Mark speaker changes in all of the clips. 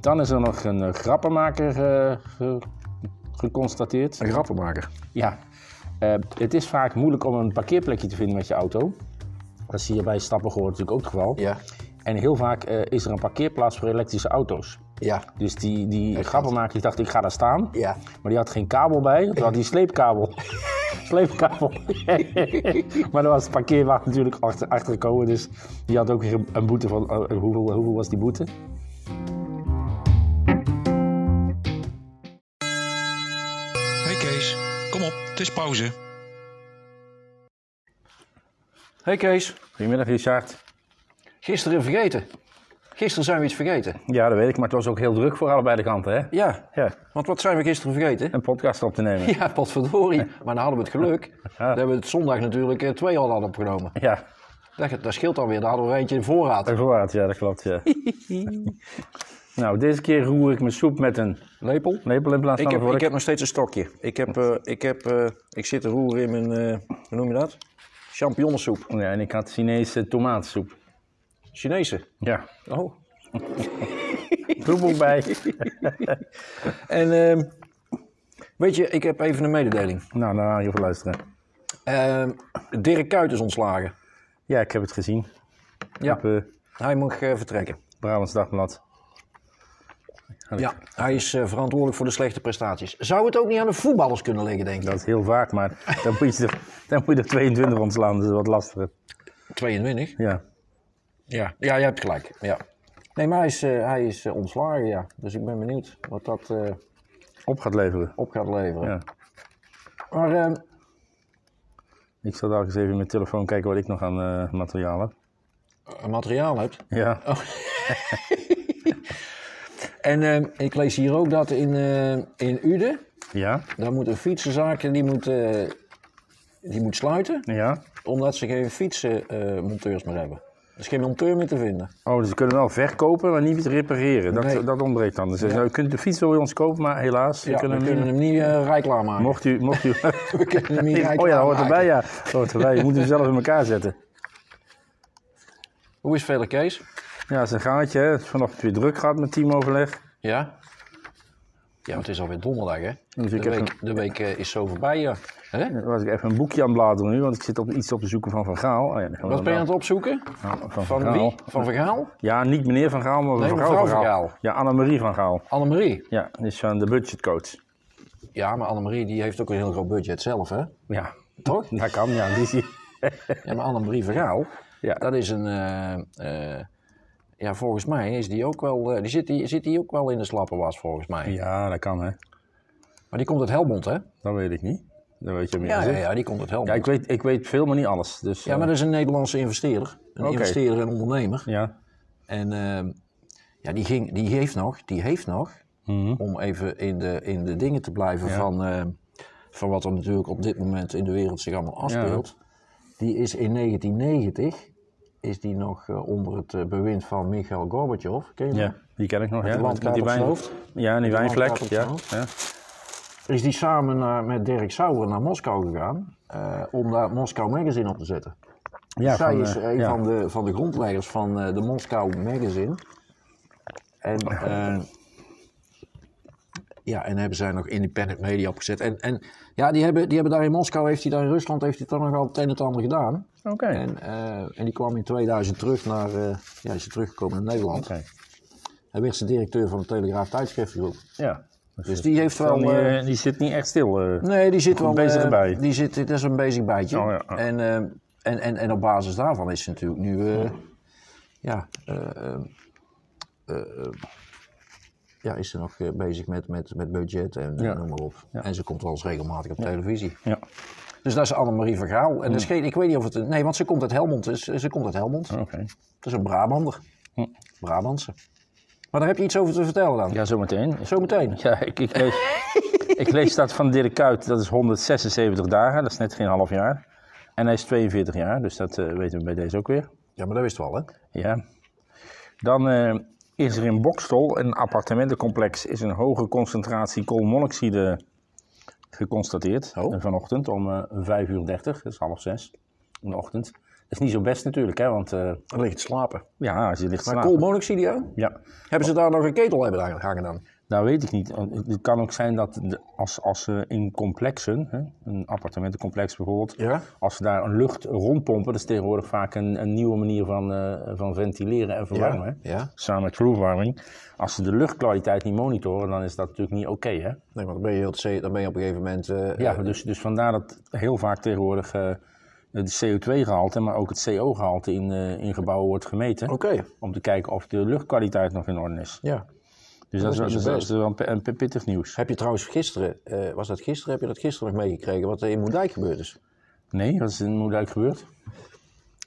Speaker 1: Dan is er nog een eh, grappenmaker eh, ge- geconstateerd.
Speaker 2: Een grappenmaker.
Speaker 1: Ja, eh, het is vaak moeilijk om een parkeerplekje te vinden met je auto. Dat is hier bij Stappengoor natuurlijk ook het geval.
Speaker 2: Ja.
Speaker 1: En heel vaak eh, is er een parkeerplaats voor elektrische auto's.
Speaker 2: Ja.
Speaker 1: Dus die, die grappenmaker die dacht, ik ga daar staan.
Speaker 2: Ja.
Speaker 1: Maar die had geen kabel bij, toen had die sleepkabel. sleepkabel. maar dan was het parkeerwagen natuurlijk achter, achtergekomen. Dus die had ook weer een- een boete van, eh, hoeveel, hoeveel was die boete?
Speaker 3: Hey Kees, kom op, het is pauze.
Speaker 4: Hey Kees,
Speaker 1: Goedemiddag Richard.
Speaker 4: gisteren vergeten. Gisteren zijn we iets vergeten.
Speaker 1: Ja, dat weet ik, maar het was ook heel druk voor allebei de kanten, hè?
Speaker 4: Ja,
Speaker 1: Ja,
Speaker 4: want wat zijn we gisteren vergeten?
Speaker 1: een podcast op te nemen.
Speaker 4: Ja, potverdorie. Maar dan hadden we het geluk. Dat we het zondag natuurlijk eh, twee al hadden opgenomen.
Speaker 1: Ja,
Speaker 4: Dat, dat scheelt alweer, daar hadden we eentje in
Speaker 2: Eh,
Speaker 4: voorraad.
Speaker 1: dat voorraad, ja, dat klopt, ja. nou, deze keer roer ik mijn soep met een
Speaker 4: Lepel?
Speaker 1: lepel in plaats
Speaker 2: Ik
Speaker 1: van een
Speaker 2: heb, ik
Speaker 1: vork.
Speaker 2: heb nog steeds een stokje. Ik, heb, eh, ik, heb, eh, ik zit te roeren in mijn, eh, hoe noem je dat? Champignonsoep.
Speaker 1: Ja, en ik had Chinese tomaatsoep.
Speaker 2: Chinese.
Speaker 1: Ja,
Speaker 2: Oh.
Speaker 1: troebel bij.
Speaker 2: En ehm, weet je, ik heb even een mededeling.
Speaker 1: nou, dan gaan we even luisteren.
Speaker 2: Ehm, Dirk Kuyt is ontslagen.
Speaker 1: Ja, ik heb het gezien.
Speaker 2: Ja.
Speaker 1: Op eh
Speaker 2: Hij mag eh, vertrekken.
Speaker 1: Brabants Dagblad.
Speaker 2: Ja, hij is eh, verantwoordelijk voor de slechte prestaties. Zou het ook niet aan de voetballers kunnen liggen, denk ik?
Speaker 1: Dat is heel vaak, maar dan moet je er, dan moet je er 22 ontslaan, dus dat is wat lastiger.
Speaker 2: 22?
Speaker 1: Ja.
Speaker 2: Ja, ja, jij hebt gelijk. Ja. Nee, maar hij is, eh, hij is eh, ontslagen, ja. Dus ik ben benieuwd wat dat eh,
Speaker 1: Op gaat leveren.
Speaker 2: op gaat leveren.
Speaker 1: Ja.
Speaker 2: Maar ehm,
Speaker 1: Ik zal dadelijk eens even in mijn telefoon kijken wat ik nog aan eh, materiaal heb.
Speaker 2: een materiaal hebt.
Speaker 1: Ja.
Speaker 2: Oh. En ehm, ik lees hier ook dat in, eh, in Uden,
Speaker 1: Ja?
Speaker 2: daar moet een fietsenzaak en die moet, eh, die moet sluiten.
Speaker 1: Ja?
Speaker 2: Omdat ze geen fietsenmonteurs meer hebben. Er is geen monteur meer te vinden.
Speaker 1: Oh, dus ze kunnen wel verkopen, maar niet repareren. Dat,
Speaker 2: Nee.
Speaker 1: dat ontbreekt dan. Dus ze zeggen, nou, u kunt de fiets wel bij ons kopen, maar helaas, we
Speaker 2: Ja,
Speaker 1: kunnen
Speaker 2: we
Speaker 1: hem
Speaker 2: kunnen
Speaker 1: niet-
Speaker 2: hem niet eh rijk maken.
Speaker 1: Mocht u... Mocht u...
Speaker 2: We kunnen hem niet rijk
Speaker 1: oh ja, dat hoort
Speaker 2: klaarmaken.
Speaker 1: erbij, ja. Dat hoort erbij. Je moet hem zelf in elkaar zetten.
Speaker 2: Hoe is het verder, Kees?
Speaker 1: Ja, dat is een gaatje. hè. Het is Vanochtend weer druk gehad met teamoverleg.
Speaker 2: Ja? Ja, want het is alweer donderdag, hè?
Speaker 1: Dus ik
Speaker 2: de,
Speaker 1: heb
Speaker 2: week, de week eh, is zo voorbij, ja. Hè?
Speaker 1: Dan was ik even een boekje aan het bladeren nu, want ik zit op iets op te zoeken van Van Gaal. Oh ja, dan gaan we
Speaker 2: Wat ben je aan het opzoeken?
Speaker 1: dan- van,
Speaker 2: Van
Speaker 1: Gaal.
Speaker 2: wie? Van Vergaal?
Speaker 1: Ja, niet meneer Van Gaal, maar
Speaker 2: Nee,
Speaker 1: mevrouw,
Speaker 2: mevrouw
Speaker 1: Van
Speaker 2: Van
Speaker 1: Gaal.
Speaker 2: Gaal.
Speaker 1: Ja, Annemarie Van Gaal.
Speaker 2: Annemarie.
Speaker 1: Ja, die is van de budgetcoach.
Speaker 2: Ja, maar Annemarie die heeft ook een heel groot budget zelf, hè?
Speaker 1: Ja,
Speaker 2: Toch?
Speaker 1: dat kan, ja. Die is die-
Speaker 2: Ja, maar Annemarie Vergaal,
Speaker 1: Ja.
Speaker 2: dat is een... eh, eh, ja, volgens mij is die ook wel... eh, die zit, die, zit die ook wel in de slappe was, volgens mij.
Speaker 1: ja, dat kan, hè.
Speaker 2: Maar die komt uit Helmond, hè?
Speaker 1: Dat weet ik niet. Dat weet je meer.
Speaker 2: Ja,
Speaker 1: dan
Speaker 2: ja,
Speaker 1: ik.
Speaker 2: ja, die komt uit Helmond.
Speaker 1: Ja, ik weet, ik weet veel, maar niet alles. Dus,
Speaker 2: Ja,
Speaker 1: eh,
Speaker 2: maar dat is een Nederlandse investeerder. Een
Speaker 1: Oké.
Speaker 2: investeerder en ondernemer.
Speaker 1: Ja,
Speaker 2: En ehm, ja, die, ging, die heeft nog, die heeft nog om even in de, in de dingen te blijven van, ehm, van wat er natuurlijk op dit moment in de wereld zich allemaal afspeelt. Die is in 1990 is die nog eh, onder het eh, bewind van Mikhail Gorbachev. Ken je hem?
Speaker 1: ja, die ken ik nog. ja,
Speaker 2: de
Speaker 1: met
Speaker 2: landkaart
Speaker 1: die
Speaker 2: op zijn
Speaker 1: wijn-
Speaker 2: hoofd?
Speaker 1: Ja, en die
Speaker 2: Met de
Speaker 1: wijnvlek.
Speaker 2: landkaart op
Speaker 1: Ja, ja.
Speaker 2: Is die samen naar- met Dirk Sauer naar Moskou gegaan eh, om daar Moskou Magazine op te zetten.
Speaker 1: ja
Speaker 2: Zij
Speaker 1: van,
Speaker 2: is
Speaker 1: eh,
Speaker 2: een
Speaker 1: ja.
Speaker 2: van, de, van de grondleggers van eh, de Moskou Magazine. En,
Speaker 1: Oh.
Speaker 2: eh, ja, en hebben zij nog independent media opgezet. En, en ja, die hebben, die hebben daar in Moskou, heeft hij daar in Rusland, heeft hij daar nog al het een en het ander gedaan.
Speaker 1: Oké.
Speaker 2: En, eh, en die kwam in 2000 terug naar, eh, ja, is hij teruggekomen naar Nederland.
Speaker 1: Oké.
Speaker 2: Hij werd ze directeur van de Telegraaf Tijdschriftengroep.
Speaker 1: Ja.
Speaker 2: Dus die heeft wel...
Speaker 1: Wel, die,
Speaker 2: eh,
Speaker 1: eh, die zit niet echt stil. eh.
Speaker 2: Nee, die zit wel...
Speaker 1: bezig
Speaker 2: eh,
Speaker 1: bij.
Speaker 2: Die zit, dat is een bezig bijtje.
Speaker 1: Oh, ja.
Speaker 2: en, eh, en, en, en op basis daarvan is ze natuurlijk nu... eh, ja, eh, eh, eh, eh, ja, is ze nog eh, bezig met, met, met budget en
Speaker 1: Ja.
Speaker 2: eh, noem maar op. En ze komt wel eens regelmatig op televisie.
Speaker 1: Ja. Mm.
Speaker 2: Dus dat is Annemarie Vergaal. En dat is geen, ik weet niet of het... een- Nee, want ze komt uit Helmond. Dus, ze komt uit Helmond.
Speaker 1: Oké.
Speaker 2: Dat is een Brabander. Brabantse. Maar daar heb je iets over te vertellen dan.
Speaker 1: Ja, zometeen.
Speaker 2: Zometeen.
Speaker 1: Ja, ik, ik, lees, ik lees dat van Dirk Kuyt, dat is 176 dagen, dat is net geen half jaar. En hij is 42 jaar, dus dat eh, weten we bij deze ook weer.
Speaker 2: Ja, maar dat wist we al, hè?
Speaker 1: Ja. Dan eh, is er in Bokstel, een appartementencomplex, is een hoge concentratie koolmonoxide geconstateerd.
Speaker 2: Oh.
Speaker 1: eh, En Vanochtend om eh 5 uur 30, dat is half zes dus in de ochtend. is niet zo best natuurlijk, hè? Want eh,
Speaker 2: Dan ligt het slapen.
Speaker 1: ja, als je ligt te
Speaker 2: Maar
Speaker 1: slapen.
Speaker 2: koolmonoxide, hè?
Speaker 1: Ja,
Speaker 2: Hebben ze daar nog een ketel hebben daar hangen dan?
Speaker 1: dat weet ik niet. Want Het kan ook zijn dat de- als, als ze in complexen, hè, een appartementencomplex bijvoorbeeld,
Speaker 2: Ja.
Speaker 1: als ze daar een lucht rondpompen, dat is tegenwoordig vaak een, een nieuwe manier van, eh, van ventileren en verwarmen. hè.
Speaker 2: Ja.
Speaker 1: Samen met vloerverwarming. Als ze de luchtkwaliteit niet monitoren, dan is dat natuurlijk niet oké. hè?
Speaker 2: Nee, want dan ben je, heel, te- dan ben je op een gegeven moment... eh,
Speaker 1: Ja, dus, dus vandaar dat heel vaak tegenwoordig eh het CO2-gehalte, maar ook het CO-gehalte in, eh, in gebouwen wordt gemeten.
Speaker 2: eh, Oké.
Speaker 1: Om te kijken of de luchtkwaliteit nog in orde is.
Speaker 2: Ja.
Speaker 1: Dus dat, is, wel-
Speaker 2: is
Speaker 1: dat,
Speaker 2: best.
Speaker 1: is wel een, pi- een pi- pittig nieuws.
Speaker 2: Heb je trouwens gisteren, eh, was dat gisteren, heb je dat gisteren nog meegekregen wat er in Moerdijk gebeurd is?
Speaker 1: Nee, dat is in Moerdijk gebeurd.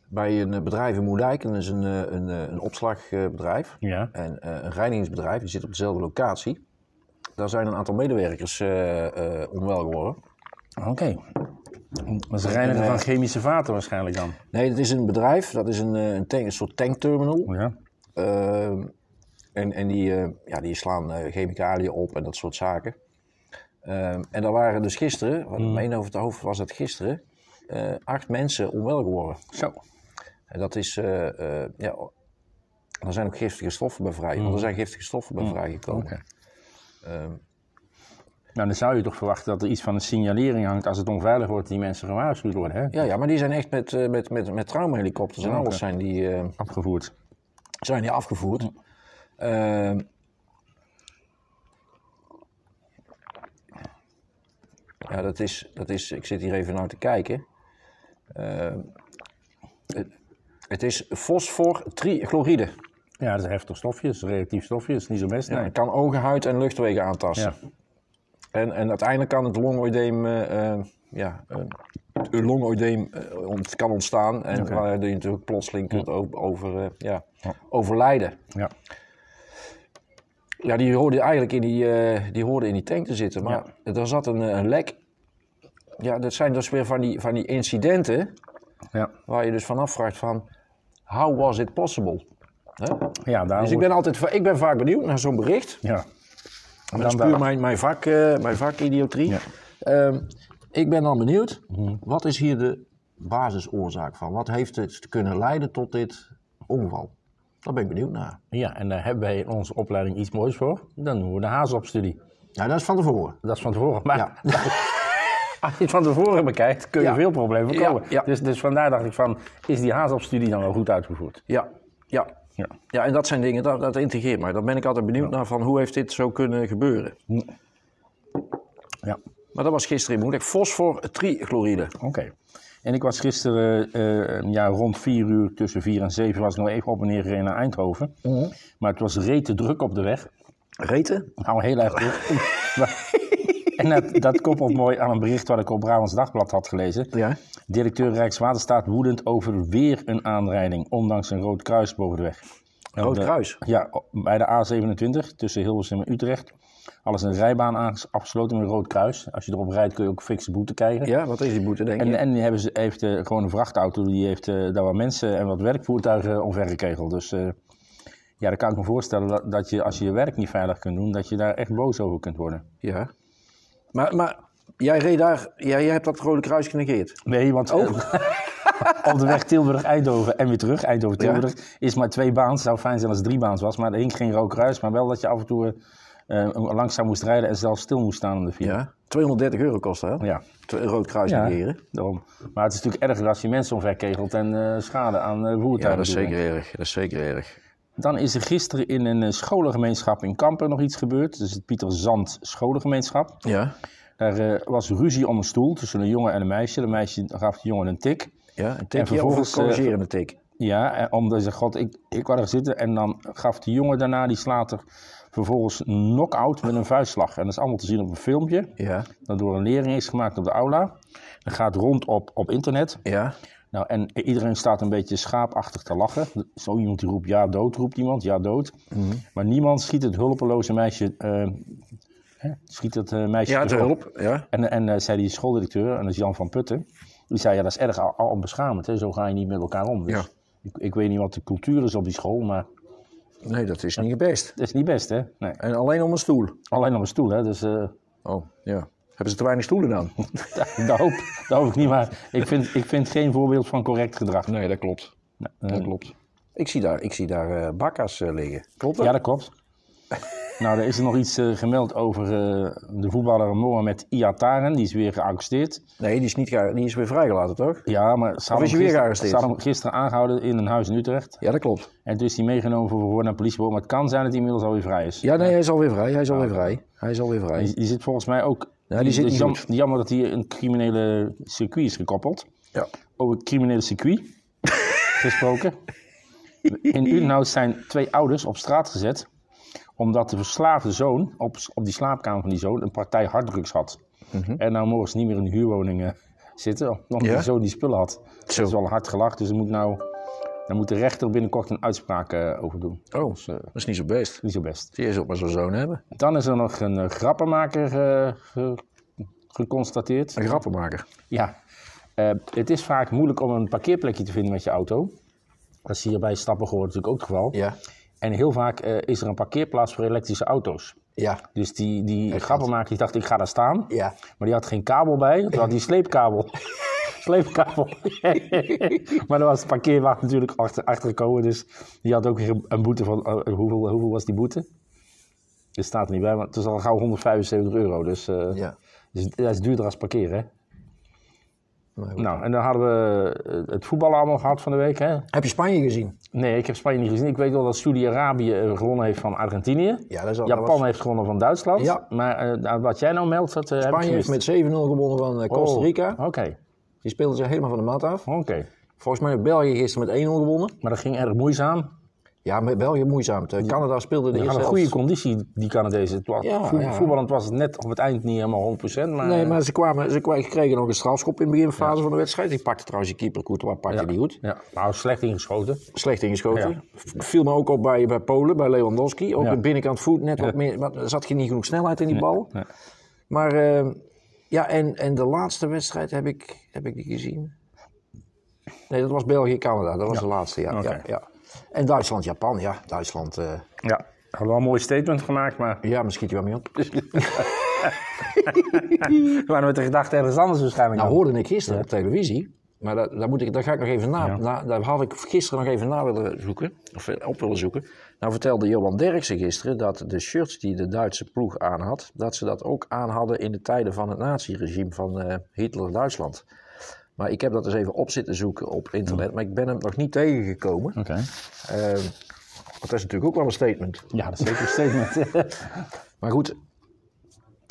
Speaker 2: Bij een eh, bedrijf in Moerdijk, en dat is een, eh, een, eh, een opslagbedrijf
Speaker 1: Ja.
Speaker 2: en eh, een reinigingsbedrijf, die zit op dezelfde locatie. Daar zijn een aantal medewerkers eh, eh, onwel geworden.
Speaker 1: Oké. Dat is reinigen van chemische vaten waarschijnlijk dan.
Speaker 2: Nee, het is een bedrijf, dat is een, eh, een, tank, een soort tankterminal.
Speaker 1: Ja.
Speaker 2: Ehm, en en die, eh, ja, die slaan eh, chemicaliën op en dat soort zaken. Ehm, en daar waren dus gisteren, wat
Speaker 1: Hmm.
Speaker 2: ik meen over het hoofd was dat gisteren, eh, acht mensen onwel geworden.
Speaker 1: Zo.
Speaker 2: En dat is, eh, eh, ja, er zijn ook giftige stoffen bij vrij. Want er zijn giftige stoffen bij vrijgekomen.
Speaker 1: Hmm. Oké. Nou, dan zou je toch verwachten dat er iets van een signalering hangt als het onveilig wordt, die mensen gewaarschuwd worden, hè?
Speaker 2: Ja, ja, maar die zijn echt met, eh, met, met, met traumahelikopters en
Speaker 1: Oké.
Speaker 2: alles zijn die, eh,
Speaker 1: Afgevoerd.
Speaker 2: zijn die afgevoerd. Ehm, ja, dat is, dat is, ik zit hier even naar te kijken. Ehm, het, het is fosfortrichloride.
Speaker 1: Ja, dat is heftig stofje, dat is een reactief stofje, dat is niet zo best.
Speaker 2: Ja,
Speaker 1: nee.
Speaker 2: het kan ogen, huid en luchtwegen aantasten.
Speaker 1: Ja.
Speaker 2: En, en uiteindelijk kan het longoedeem, eh, eh, ja, eh, een longoedeem eh, ont- kan ontstaan. En
Speaker 1: Oké.
Speaker 2: waardoor je natuurlijk plotseling kunt o- over, eh, ja, overlijden.
Speaker 1: Ja.
Speaker 2: Ja, die hoorde eigenlijk in die, eh, die, hoorde in die tank te zitten. Maar er zat een, eh, een lek. Ja, dat zijn dus weer van die, van die incidenten
Speaker 1: Ja.
Speaker 2: waar je dus van afvraagt van... How was it possible? Hè?
Speaker 1: Ja, daar
Speaker 2: Dus ik ben altijd va- ik ben vaak benieuwd naar zo'n bericht.
Speaker 1: Ja.
Speaker 2: Maar dat is puur mijn, mijn, vak, eh, mijn vakidiotrie.
Speaker 1: Ja.
Speaker 2: Ehm, ik ben dan benieuwd, wat is hier de basisoorzaak van? Wat heeft het kunnen leiden tot dit ongeval? Daar ben ik benieuwd naar.
Speaker 1: Ja, en daar hebben wij in onze opleiding iets moois voor. Dan noemen we de hazenopstudie.
Speaker 2: Ja, dat is van tevoren.
Speaker 1: Dat is van tevoren. Maar
Speaker 2: Ja.
Speaker 1: als je het van tevoren bekijkt, kun je
Speaker 2: Ja.
Speaker 1: veel problemen voorkomen.
Speaker 2: Ja, ja.
Speaker 1: Dus, dus vandaar dacht ik van, is die hazenopstudie dan wel goed uitgevoerd?
Speaker 2: Ja, ja.
Speaker 1: Ja.
Speaker 2: ja en dat zijn dingen, dat, dat integreert mij. Daar ben ik altijd benieuwd naar van hoe heeft dit zo kunnen gebeuren.
Speaker 1: Ja,
Speaker 2: Maar dat was gisteren moeilijk. Fosfortrichloride.
Speaker 1: oké. En ik was gisteren eh, ja, rond 4 uur, tussen 4 en 7, was ik nog even op en neer gereden naar Eindhoven. Maar het was rete druk op de weg.
Speaker 2: Reten?
Speaker 1: Nou, heel erg druk. Maar- en dat, dat koppelt mooi aan een bericht wat ik op Brabants Dagblad had gelezen.
Speaker 2: Ja.
Speaker 1: Directeur Rijkswaterstaat woedend over weer een aanrijding, ondanks een rood kruis boven de weg.
Speaker 2: Rood
Speaker 1: de-
Speaker 2: kruis?
Speaker 1: Ja, bij de A27 tussen Hilversum en Utrecht. Alles een rijbaan aanges- afgesloten met een rood kruis. Als je erop rijdt kun je ook een fikse boete krijgen.
Speaker 2: Ja, wat is die boete, denk
Speaker 1: En,
Speaker 2: je?
Speaker 1: en die hebben ze, heeft eh, gewoon een vrachtauto, die heeft eh, daar wat mensen en wat werkvoertuigen omvergekegeld. Dus eh, ja, dan kan ik me voorstellen dat, dat je als je je werk niet veilig kunt doen, dat je daar echt boos over kunt worden.
Speaker 2: Ja. Maar, maar jij reed daar, jij, jij hebt dat Rode Kruis genegeerd.
Speaker 1: Nee, want
Speaker 2: Oh.
Speaker 1: eh, op de weg Tilburg-Eindhoven en weer terug, Eindhoven-Tilburg, is maar twee baans. Het zou fijn zijn als het drie baans was, maar er hing geen rood kruis. Maar wel dat je af en toe eh, eh, langzaam moest rijden en zelfs stil moest staan aan de file.
Speaker 2: Ja. 230 euro kost dat, hè?
Speaker 1: Ja.
Speaker 2: Te- Rood Kruis
Speaker 1: Ja,
Speaker 2: negeren.
Speaker 1: daarom. Maar het is natuurlijk erger als je mensen omverkegelt en eh, schade aan eh voertuigen
Speaker 2: Ja, dat is
Speaker 1: doet.
Speaker 2: zeker erg. Dat is zeker erg.
Speaker 1: Dan is er gisteren in een eh, scholengemeenschap in Kampen nog iets gebeurd. Dus het Pieter Zand scholengemeenschap.
Speaker 2: Ja.
Speaker 1: Daar eh, was ruzie om een stoel tussen een jongen en een meisje. De meisje gaf de jongen een tik.
Speaker 2: Ja, een
Speaker 1: En
Speaker 2: tikje of
Speaker 1: vervolgens,
Speaker 2: een
Speaker 1: eh,
Speaker 2: corrigerende tik.
Speaker 1: Ja, en omdat ze god, ik, ik wou er zitten. En dan gaf die jongen daarna, die slaat er vervolgens knock-out met een vuistslag. En dat is allemaal te zien op een filmpje.
Speaker 2: Ja.
Speaker 1: Dat door een lering is gemaakt op de aula. Dat gaat rond op, op internet.
Speaker 2: Ja.
Speaker 1: Nou, en iedereen staat een beetje schaapachtig te lachen. Zo iemand die roept ja dood, roept iemand ja dood. Maar niemand schiet het hulpeloze meisje, eh, hè, schiet het eh, meisje
Speaker 2: Ja,
Speaker 1: te
Speaker 2: te hulp. Ja.
Speaker 1: en, en eh, zei die schooldirecteur, en dat is Jan van Putten, die zei, ja, dat is erg al, al onbeschamend, hè? zo ga je niet met elkaar om. Dus
Speaker 2: Ja.
Speaker 1: ik, ik weet niet wat de cultuur is op die school, maar
Speaker 2: Nee, dat is niet het best.
Speaker 1: dat is niet best, hè? Nee.
Speaker 2: En alleen om een stoel.
Speaker 1: Alleen op een stoel, hè? Dus, eh,
Speaker 2: Oh, ja.
Speaker 4: Hebben ze te weinig stoelen dan?
Speaker 1: dat, hoop, dat hoop ik niet, maar ik vind, ik vind geen voorbeeld van correct gedrag.
Speaker 4: Nee, dat klopt.
Speaker 1: Eh,
Speaker 4: Dat klopt.
Speaker 2: ehm, Ik zie daar, ik zie daar eh, bakka's eh, liggen. Klopt dat?
Speaker 1: ja, dat klopt. nou, er is er nog iets eh, gemeld over eh, de voetballer Mohamed Iataren. Die is weer gearresteerd.
Speaker 2: Nee, die is, niet, gear- die is weer vrijgelaten, toch?
Speaker 1: Ja, maar ze
Speaker 2: Of
Speaker 1: hadden
Speaker 2: is
Speaker 1: hem
Speaker 2: hij
Speaker 1: gister-
Speaker 2: weer gearresteerd?
Speaker 1: ze hadden hem gisteren aangehouden in een huis in Utrecht.
Speaker 2: Ja, dat klopt.
Speaker 1: En toen is hij meegenomen voor verhoor naar het politiebureau. Maar het kan zijn dat hij inmiddels alweer vrij is.
Speaker 2: Ja, Mm. nee, hij is alweer vrij. Hij is alweer vrij. Hij is alweer vrij.
Speaker 1: Die, die zit volgens mij ook...
Speaker 2: Ja, die zit niet
Speaker 1: jam-
Speaker 2: goed.
Speaker 1: jammer dat hij een criminele circuit is gekoppeld.
Speaker 2: Ja.
Speaker 1: Over het criminele circuit gesproken. In Udenhout zijn twee ouders op straat gezet... omdat de verslaafde zoon op, op die slaapkamer van die zoon... een partij harddrugs had. En nou mogen ze niet meer in de huurwoning eh, zitten... omdat
Speaker 2: Mhm. Ja?
Speaker 1: die zoon die spullen had.
Speaker 2: Zo.
Speaker 1: Dat is wel hard gelachen, dus er moet nou... Daar moet de rechter binnenkort een uitspraak eh, over doen.
Speaker 2: Oh, dat is niet zo best.
Speaker 1: Niet zo best.
Speaker 2: Die is ook maar zo'n zoon hebben.
Speaker 1: Dan is er nog een eh, grappenmaker eh, ge- geconstateerd.
Speaker 2: Een grappenmaker.
Speaker 1: Ja, eh, het is vaak moeilijk om een parkeerplekje te vinden met je auto. Dat is hier bij Stappengoor natuurlijk ook het geval.
Speaker 2: Ja.
Speaker 1: En heel vaak eh, is er een parkeerplaats voor elektrische auto's.
Speaker 2: Ja.
Speaker 1: Dus die, die grappenmaker die dacht, ik ga daar staan.
Speaker 2: Ja.
Speaker 1: Maar die had geen kabel bij, toen had hij een sleepkabel. sleepkabel. maar daar was de parkeerwacht natuurlijk achter, achtergekomen. Dus die had ook weer een boete van, eh, hoeveel, hoeveel was die boete? Er staat er niet bij, maar het is al gauw 175 euro. Dus, eh,
Speaker 2: Ja.
Speaker 1: dus dat is duurder als parkeren, hè?
Speaker 2: Maar goed.
Speaker 1: Nou, en dan hadden we eh, het voetbal allemaal gehad van de week, hè?
Speaker 2: Heb je Spanje gezien?
Speaker 1: Nee, ik heb Spanje niet gezien. Ik weet wel dat Saudi-Arabië eh, gewonnen heeft van Argentinië.
Speaker 2: Ja, dat is al- dat
Speaker 1: Japan
Speaker 2: was-
Speaker 1: heeft gewonnen van Duitsland.
Speaker 2: Ja.
Speaker 1: Maar eh, nou, wat jij nou meldt, dat eh, heb ik
Speaker 2: Spanje heeft
Speaker 1: gemist.
Speaker 2: met 7-0 gewonnen van eh, Costa
Speaker 1: Oh,
Speaker 2: Rica.
Speaker 1: Oké,
Speaker 2: Die speelden ze helemaal van de maat af.
Speaker 1: oké.
Speaker 2: Volgens mij heeft België gisteren met 1-0 gewonnen.
Speaker 1: Maar dat ging erg moeizaam.
Speaker 2: Ja, met België moeizaam. De Canada speelde de
Speaker 1: Die
Speaker 2: eerste
Speaker 1: hadden goede
Speaker 2: helft.
Speaker 1: conditie, die Canadezen. Het was,
Speaker 2: Ja,
Speaker 1: voet-
Speaker 2: ja.
Speaker 1: Voetballend was het net op het eind niet helemaal 100%. Maar, eh,
Speaker 2: Nee, maar ze, kwamen, ze kwa- kregen nog een strafschop in de beginfase van de wedstrijd. Die pakte trouwens je keeper Courtois, pakte die goed.
Speaker 1: Ja, nou, slecht ingeschoten.
Speaker 2: Slecht ingeschoten. V- Viel me ook op bij, bij Polen, bij Lewandowski. Ook
Speaker 1: Ja.
Speaker 2: de binnenkant voet net wat meer. Maar er zat geen- niet genoeg snelheid in die bal. Maar eh, ja, en, en de laatste wedstrijd heb ik, heb ik die gezien. Nee, dat was België-Canada. Dat was de laatste, ja. ja,
Speaker 1: Oké.
Speaker 2: ja. En Duitsland-Japan, ja. Duitsland, eh,
Speaker 1: Ja, hadden we wel een mooi statement gemaakt, maar
Speaker 2: ja, misschien je wel mee op.
Speaker 1: we waren met de gedachte ergens anders waarschijnlijk.
Speaker 2: Nou
Speaker 1: aan.
Speaker 2: hoorde ik gisteren op televisie, maar dat, daar, moet ik, daar ga ik nog even na, na- Daar had ik gisteren nog even na willen zoeken, of eh, op willen zoeken. Nou vertelde Johan Derksen gisteren dat de shirts die de Duitse ploeg aan had, dat ze dat ook aan hadden in de tijden van het naziregime van eh, Hitler-Duitsland. Maar ik heb dat eens even op zitten zoeken op internet, maar ik ben hem nog niet tegengekomen.
Speaker 1: Oké.
Speaker 2: Eh, want dat is natuurlijk ook wel een statement.
Speaker 1: Ja, dat is zeker een statement.
Speaker 2: Maar goed,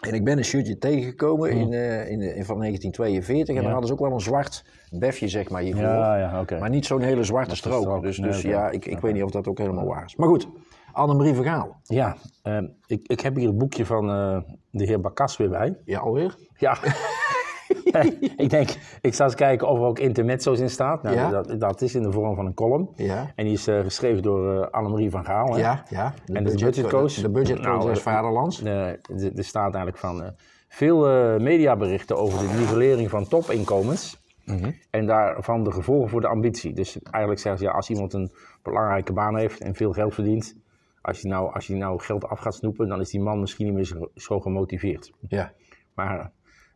Speaker 2: en ik ben een shirtje tegengekomen
Speaker 1: Mhm.
Speaker 2: in, eh, in, in, van 1942. En dan hadden ze ook wel een zwart befje, zeg maar, hiervoor.
Speaker 1: ja, ja, oké.
Speaker 2: Maar niet zo'n hele zwarte strook.
Speaker 1: strook.
Speaker 2: Dus,
Speaker 1: Nee,
Speaker 2: dus
Speaker 1: oké.
Speaker 2: ja, ik, ik weet niet of dat ook helemaal waar is. Maar goed, Annemarie Vergaal.
Speaker 1: Ja, eh, ik, ik heb hier het boekje van eh, de heer Bakas weer bij.
Speaker 2: Ja, alweer?
Speaker 1: Ja. ik denk, ik sta eens kijken of er ook intermezzo's in staat. Nou,
Speaker 2: Ja.
Speaker 1: dat, dat is in de vorm van een column.
Speaker 2: Ja.
Speaker 1: En die is eh, geschreven door eh, Annemarie van Gaal. hè.
Speaker 2: Ja, ja. De
Speaker 1: En de budgetcoach?
Speaker 2: De budgetcoach
Speaker 1: Nou,
Speaker 2: des
Speaker 1: eh,
Speaker 2: vaderlands.
Speaker 1: Eh, d- er staat eigenlijk van eh, veel eh, mediaberichten over de nivellering van topinkomens.
Speaker 2: Mhm.
Speaker 1: En daarvan de gevolgen voor de ambitie. Dus eigenlijk zeggen ze, ja, als iemand een belangrijke baan heeft en veel geld verdient. Als je nou, als je nou geld af gaat snoepen, dan is die man misschien niet meer zo- zo gemotiveerd.
Speaker 2: Ja.
Speaker 1: Maar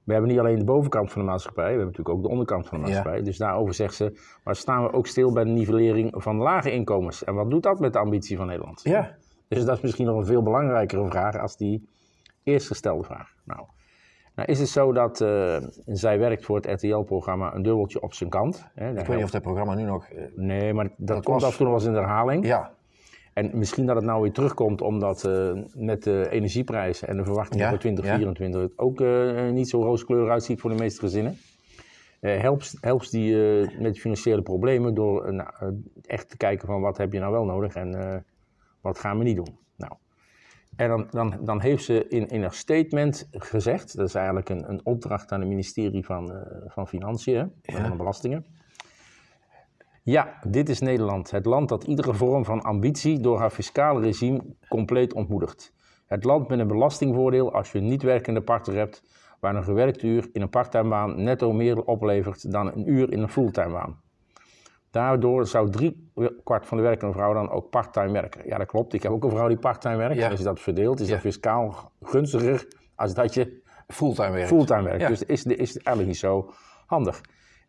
Speaker 1: we hebben niet alleen de bovenkant van de maatschappij, we hebben natuurlijk ook de onderkant van de maatschappij. Dus daarover zegt ze, maar staan we ook stil bij de nivellering van lage inkomens? En wat doet dat met de ambitie van Nederland?
Speaker 2: Ja.
Speaker 1: Dus dat is misschien nog een veel belangrijkere vraag als die eerst gestelde vraag. Nou, nou is het zo dat eh, zij werkt voor het RTL-programma Een Dubbeltje op zijn kant. Hè, daar
Speaker 2: Ik weet niet of dat programma nu nog... eh,
Speaker 1: Nee, maar dat, komt
Speaker 2: was-
Speaker 1: af en toe nog wel eens in de herhaling.
Speaker 2: ja.
Speaker 1: En misschien dat het nou weer terugkomt omdat eh, met de energieprijzen en de verwachtingen
Speaker 2: Ja,
Speaker 1: voor 2024 het ook eh, niet zo rooskleurig uitziet voor de meeste gezinnen. Eh helpt, helpt die eh, met financiële problemen door eh, nou, eh, echt te kijken van wat heb je nou wel nodig en eh, wat gaan we niet doen. Nou, en dan, dan, dan heeft ze in, in haar statement gezegd, dat is eigenlijk een, een opdracht aan het ministerie van, eh, van Financiën hè, en van Belastingen. Ja, dit is Nederland. Het land dat iedere vorm van ambitie door haar fiscale regime compleet ontmoedigt. Het land met een belastingvoordeel als je een niet werkende partner hebt, waar een gewerkt uur in een parttimebaan netto meer oplevert dan een uur in een fulltimebaan. Daardoor zou drie kwart van de werkende vrouw dan ook parttime werken. Ja, dat klopt. Ik heb ook een vrouw die parttime werkt.
Speaker 2: Ja.
Speaker 1: En Als je dat verdeelt, is dat fiscaal gunstiger als dat je
Speaker 2: fulltime werkt.
Speaker 1: fulltime werkt. Dus is, is eigenlijk niet zo handig.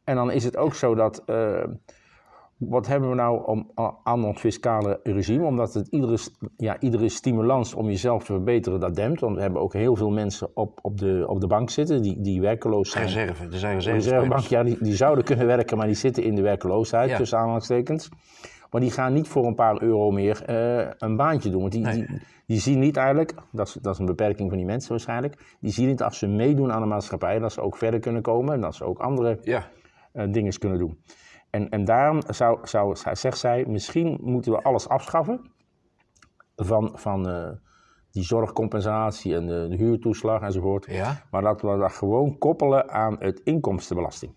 Speaker 1: En dan is het ook zo dat. eh, wat hebben we nou om, a- aan ons fiscale regime? Omdat het iedere, st- ja, iedere stimulans om jezelf te verbeteren, dat dempt. Want we hebben ook heel veel mensen op, op, de, op de bank zitten die, die werkeloos zijn.
Speaker 2: Reserve, er zijn
Speaker 1: De
Speaker 2: reserves.
Speaker 1: reservebank, ja, die, die zouden kunnen werken, maar die zitten in de werkloosheid,
Speaker 2: Ja.
Speaker 1: tussen aanhalingstekens. Maar die gaan niet voor een paar euro meer eh, een baantje doen. Want die, die, die zien niet eigenlijk, dat is, dat is een beperking van die mensen waarschijnlijk, die zien niet dat als ze meedoen aan de maatschappij, dat ze ook verder kunnen komen en dat ze ook andere
Speaker 2: Ja,
Speaker 1: eh dingen kunnen doen. En, en daarom zou, zou, zegt zij, misschien moeten we alles afschaffen van, van eh, die zorgcompensatie en de, de huurtoeslag enzovoort.
Speaker 2: ja,
Speaker 1: Maar dat we dat gewoon koppelen aan het inkomstenbelasting.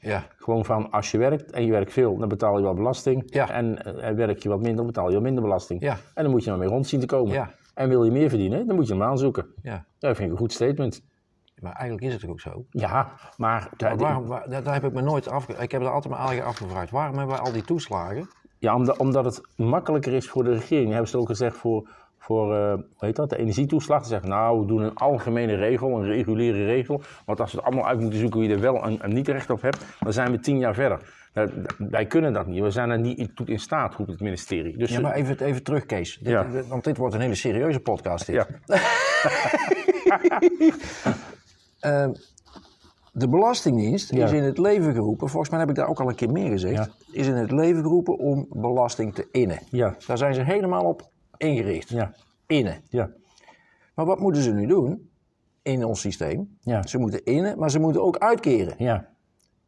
Speaker 2: ja.
Speaker 1: Gewoon van als je werkt en je werkt veel, dan betaal je wel belasting.
Speaker 2: Ja.
Speaker 1: En eh, werk je wat minder, dan betaal je wat minder belasting.
Speaker 2: Ja.
Speaker 1: En dan moet je maar mee rond zien te komen.
Speaker 2: Ja.
Speaker 1: En wil je meer verdienen, dan moet je hem aanzoeken.
Speaker 2: ja.
Speaker 1: Dat vind ik een goed statement.
Speaker 2: Maar eigenlijk is het toch ook zo.
Speaker 1: Ja, maar,
Speaker 2: Maar waarom, waar- daar, daar heb ik me nooit afge... Ik heb er altijd maar aan afgevraagd. Waarom hebben wij al die toeslagen?
Speaker 1: Ja, omdat, omdat het makkelijker is voor de regering. Hebben ze ook gezegd voor, voor eh, hoe heet dat, de energietoeslag. Ze zeggen, nou, we doen een algemene regel, een reguliere regel. Want als we het allemaal uit moeten zoeken wie er wel en, en niet recht op hebt, dan zijn we tien jaar verder. Nou, d- wij kunnen dat niet. We zijn er niet in- toe in staat, roept het ministerie. Dus
Speaker 2: Ja, maar even, even terug, Kees. Dit-
Speaker 1: Ja.
Speaker 2: dit- want dit wordt een hele serieuze podcast. Dit.
Speaker 1: Ja.
Speaker 2: Ehm, de Belastingdienst
Speaker 1: Ja.
Speaker 2: is in het leven geroepen, volgens mij heb ik daar ook al een keer meer gezegd, is in het leven geroepen om belasting te innen.
Speaker 1: Ja.
Speaker 2: Daar zijn ze helemaal op ingericht.
Speaker 1: Ja,
Speaker 2: Innen.
Speaker 1: ja,
Speaker 2: Maar wat moeten ze nu doen in ons systeem?
Speaker 1: Ja.
Speaker 2: Ze moeten innen, maar ze moeten ook uitkeren.
Speaker 1: ja,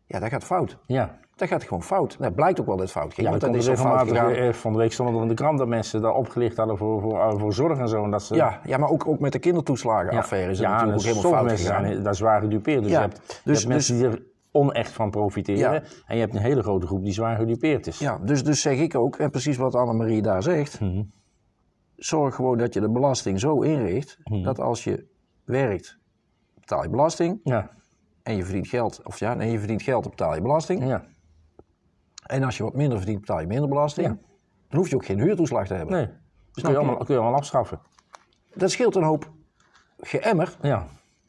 Speaker 2: Ja, dat gaat fout.
Speaker 1: ja.
Speaker 2: Dat gaat gewoon fout. Dat blijkt ook wel dat het fout ging.
Speaker 1: Ja,
Speaker 2: want
Speaker 1: dat
Speaker 2: dat is
Speaker 1: is
Speaker 2: zo fout
Speaker 1: regelmatig.
Speaker 2: gegaan.
Speaker 1: eh, Van de week stonden er in de krant dat mensen daar opgelicht hadden voor, eh, voor, voor zorg en zo. En dat ze,
Speaker 2: Ja, ja, maar ook, ook met de kindertoeslagenaffaire is het
Speaker 1: ja,
Speaker 2: natuurlijk ook
Speaker 1: dus
Speaker 2: helemaal fout
Speaker 1: mensen
Speaker 2: gegaan.
Speaker 1: zijn daar zwaar gedupeerd. Dus
Speaker 2: Ja,
Speaker 1: je hebt, je
Speaker 2: dus-
Speaker 1: hebt mensen die er onecht van profiteren.
Speaker 2: Ja.
Speaker 1: En je hebt een hele grote groep die zwaar gedupeerd is.
Speaker 2: Ja, dus, dus zeg ik ook, en precies wat Annemarie daar zegt.
Speaker 1: Mhm.
Speaker 2: Zorg gewoon dat je de belasting zo inricht
Speaker 1: Mhm.
Speaker 2: dat als je werkt, betaal je belasting.
Speaker 1: Ja,
Speaker 2: En je verdient geld, of ja, nee, je verdient geld, dan betaal je belasting.
Speaker 1: ja.
Speaker 2: En als je wat minder verdient, betaal je minder belasting.
Speaker 1: Ja.
Speaker 2: Dan hoef je ook geen huurtoeslag te hebben.
Speaker 1: nee. Dus kun je, allemaal, kun je allemaal afschaffen.
Speaker 2: Dat scheelt een hoop geëmmer.
Speaker 1: Ja,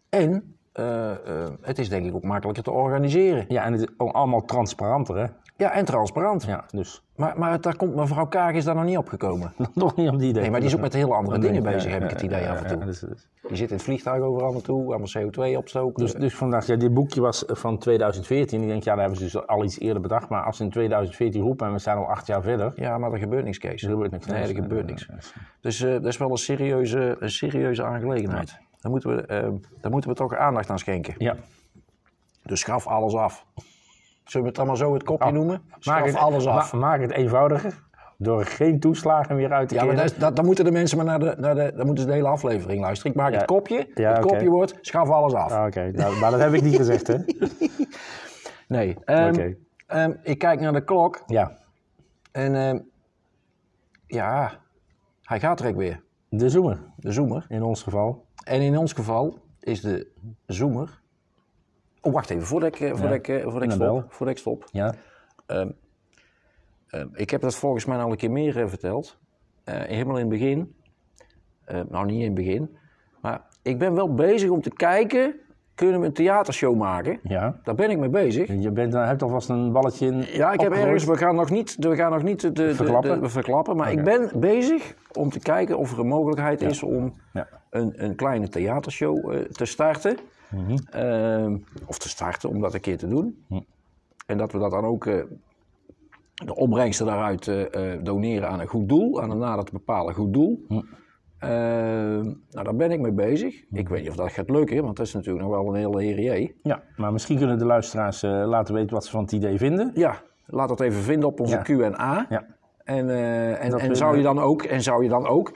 Speaker 2: En eh, eh, het is denk ik ook makkelijker te organiseren.
Speaker 1: ja en het is ook allemaal transparanter, hè?
Speaker 2: Ja, en transparant.
Speaker 1: Ja, dus
Speaker 2: Maar, maar daar komt mevrouw Kaag is daar nog niet op gekomen.
Speaker 1: nog niet op die idee.
Speaker 2: Nee, maar die is ook met hele andere dingen
Speaker 1: Ja,
Speaker 2: bezig, heb
Speaker 1: ja,
Speaker 2: ik het idee
Speaker 1: ja,
Speaker 2: af en
Speaker 1: ja,
Speaker 2: toe.
Speaker 1: dus, dus-
Speaker 2: Je zit in het vliegtuig overal naartoe, allemaal CO2 opstoken.
Speaker 1: dus, dus vandaag, ja, dit boekje was eh, van 2014. Ik denk, ja, daar hebben ze dus al iets eerder bedacht. Maar als ze in 2014 roepen en we zijn al acht jaar verder.
Speaker 2: ja, maar er gebeurt niks, Kees.
Speaker 1: Er gebeurt niks.
Speaker 2: Nee, er gebeurt niks. Dus eh, dat is wel een serieuze, een serieuze aangelegenheid. Daar moeten, we, eh, daar moeten we toch aandacht aan schenken.
Speaker 1: Ja.
Speaker 2: Dus schaf alles af. Zullen we het allemaal zo het kopje
Speaker 1: Ah,
Speaker 2: noemen?
Speaker 1: Maak
Speaker 2: Schaf
Speaker 1: het,
Speaker 2: alles af.
Speaker 1: ma- maak het eenvoudiger door geen toeslagen meer uit te
Speaker 2: ja, maar
Speaker 1: keren.
Speaker 2: dat, is- dat, dan moeten de mensen maar naar de, naar de, dan moeten ze de hele aflevering luisteren. Ik maak
Speaker 1: Ja.
Speaker 2: het kopje.
Speaker 1: Ja,
Speaker 2: het
Speaker 1: oké.
Speaker 2: kopje wordt, schaf alles af.
Speaker 1: Ah, Oké, nou, maar dat heb ik niet gezegd, hè?
Speaker 2: Ehm, Nee. ehm,
Speaker 1: Oké.
Speaker 2: ehm, ik kijk naar de klok
Speaker 1: Ja,
Speaker 2: en ehm, ja, hij gaat er ook weer.
Speaker 1: de zoomer
Speaker 2: De zoemer.
Speaker 1: in ons geval.
Speaker 2: En in ons geval is de zoomer. Oh, wacht even, voordat ik, eh, voordat ik, eh, voordat ik
Speaker 1: en dan
Speaker 2: stop.
Speaker 1: bel.
Speaker 2: Voordat ik, stop.
Speaker 1: Ja,
Speaker 2: Eh, ik heb dat volgens mij al een keer meer eh, verteld. Eh, helemaal in het begin. Eh, nou, niet in het begin. Maar ik ben wel bezig om te kijken. Kunnen we een theatershow maken?
Speaker 1: ja.
Speaker 2: Daar ben ik mee bezig.
Speaker 1: Je bent, eh, hebt alvast een balletje in.
Speaker 2: Ja, ik heb
Speaker 1: opgegooid.
Speaker 2: ergens, we gaan nog niet, we gaan nog niet de, de,
Speaker 1: Verklappen?
Speaker 2: de- verklappen maar ik ben bezig om te kijken of er een mogelijkheid is om
Speaker 1: Ja.
Speaker 2: een, een kleine theatershow eh, te starten.
Speaker 1: Mhm.
Speaker 2: Ehm, of te starten, om dat een keer te doen. En dat we dat dan ook, eh, de opbrengsten daaruit eh, eh, doneren aan een goed doel, aan een nader te bepalen goed doel.
Speaker 1: Mhm.
Speaker 2: Ehm, nou, daar ben ik mee bezig. Ik weet niet of dat gaat lukken, want dat is natuurlijk nog wel een hele herrie.
Speaker 1: Ja, maar misschien kunnen de luisteraars eh, laten weten wat ze van het idee vinden.
Speaker 2: Ja, laat dat even vinden op onze
Speaker 1: Ja.
Speaker 2: Q&A.
Speaker 1: Ja.
Speaker 2: En, eh, en,
Speaker 1: Dat
Speaker 2: en,
Speaker 1: we-
Speaker 2: zou je dan ook, en zou je dan ook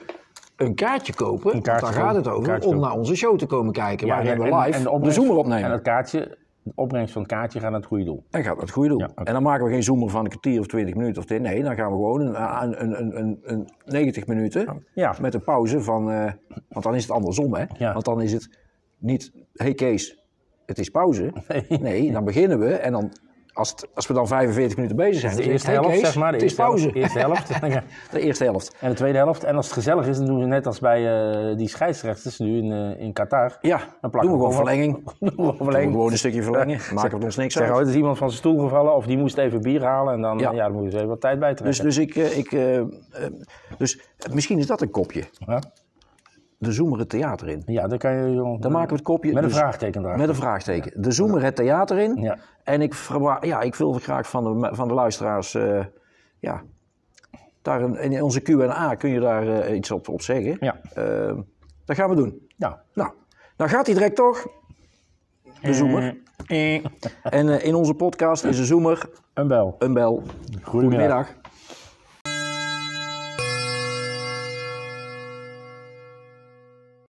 Speaker 2: een kaartje kopen,
Speaker 1: Een kaartje
Speaker 2: want
Speaker 1: kopen,
Speaker 2: daar gaat het over,
Speaker 1: een
Speaker 2: om
Speaker 1: kaartje kopen.
Speaker 2: naar onze show te komen kijken,
Speaker 1: Ja,
Speaker 2: waarin we live de,
Speaker 1: opbrengst-
Speaker 2: Zoomer opnemen.
Speaker 1: En
Speaker 2: En
Speaker 1: het kaartje, de opbrengst van het kaartje gaat naar het goede doel.
Speaker 2: dat gaat het goede doen.
Speaker 1: Ja, oké.
Speaker 2: En dan maken we geen Zoomer van een kwartier of twintig minuten of dit. Nee, dan gaan we gewoon een, eh, een, een, een, een, een 90 minuten
Speaker 1: Ja.
Speaker 2: met een pauze van... eh, want dan is het andersom, hè.
Speaker 1: Ja.
Speaker 2: Want dan is het niet, hey Kees, het is pauze. Nee, dan beginnen we en dan als, het- als we dan 45 minuten bezig zijn,
Speaker 1: De
Speaker 2: dan
Speaker 1: eerste
Speaker 2: zeg ik,
Speaker 1: helft,
Speaker 2: hey Kees,
Speaker 1: zeg maar. De
Speaker 2: het is
Speaker 1: eerste helft-
Speaker 2: pauze.
Speaker 1: eerste helft.
Speaker 2: De eerste helft.
Speaker 1: En de tweede helft. En als het gezellig is, dan doen we net als bij eh, die scheidsrechters nu in, eh, in Qatar.
Speaker 2: Ja,
Speaker 1: Dan
Speaker 2: dan
Speaker 1: plakken
Speaker 2: doen we
Speaker 1: we gewoon
Speaker 2: gewoon verlenging.
Speaker 1: Nog wel
Speaker 2: Doen we
Speaker 1: verlengd.
Speaker 2: gewoon een stukje verlenging. Maken we ons niks
Speaker 1: Zeg,
Speaker 2: uit.
Speaker 1: oh, er is iemand van zijn stoel gevallen of die moest even bier halen. En dan, ja.
Speaker 2: Ja.
Speaker 1: dan moeten ze even wat tijd bij
Speaker 2: Dus,
Speaker 1: trekken.
Speaker 2: dus, ik, eh, ik, eh, eh, dus misschien is dat een kopje.
Speaker 1: Ja.
Speaker 2: De Zoemer het theater in.
Speaker 1: ja, dan kan je... Dan,
Speaker 2: Dan maken we het kopje.
Speaker 1: Met een
Speaker 2: dus-
Speaker 1: vraagteken daar.
Speaker 2: Met een vraagteken. De Zoemer het theater in.
Speaker 1: Ja.
Speaker 2: En ik, verwa- ja, ik wil graag van de, van de luisteraars. eh, ja, daar een- in onze QA kun je daar eh, iets op, op zeggen.
Speaker 1: Ja.
Speaker 2: Eh, dat gaan we doen.
Speaker 1: Ja.
Speaker 2: Nou, dan gaat hij direct toch? De Zoemer. En eh, in onze podcast is de Zoemer
Speaker 1: Een bel.
Speaker 2: een bel.
Speaker 1: Goedemiddag.
Speaker 2: Goedemiddag.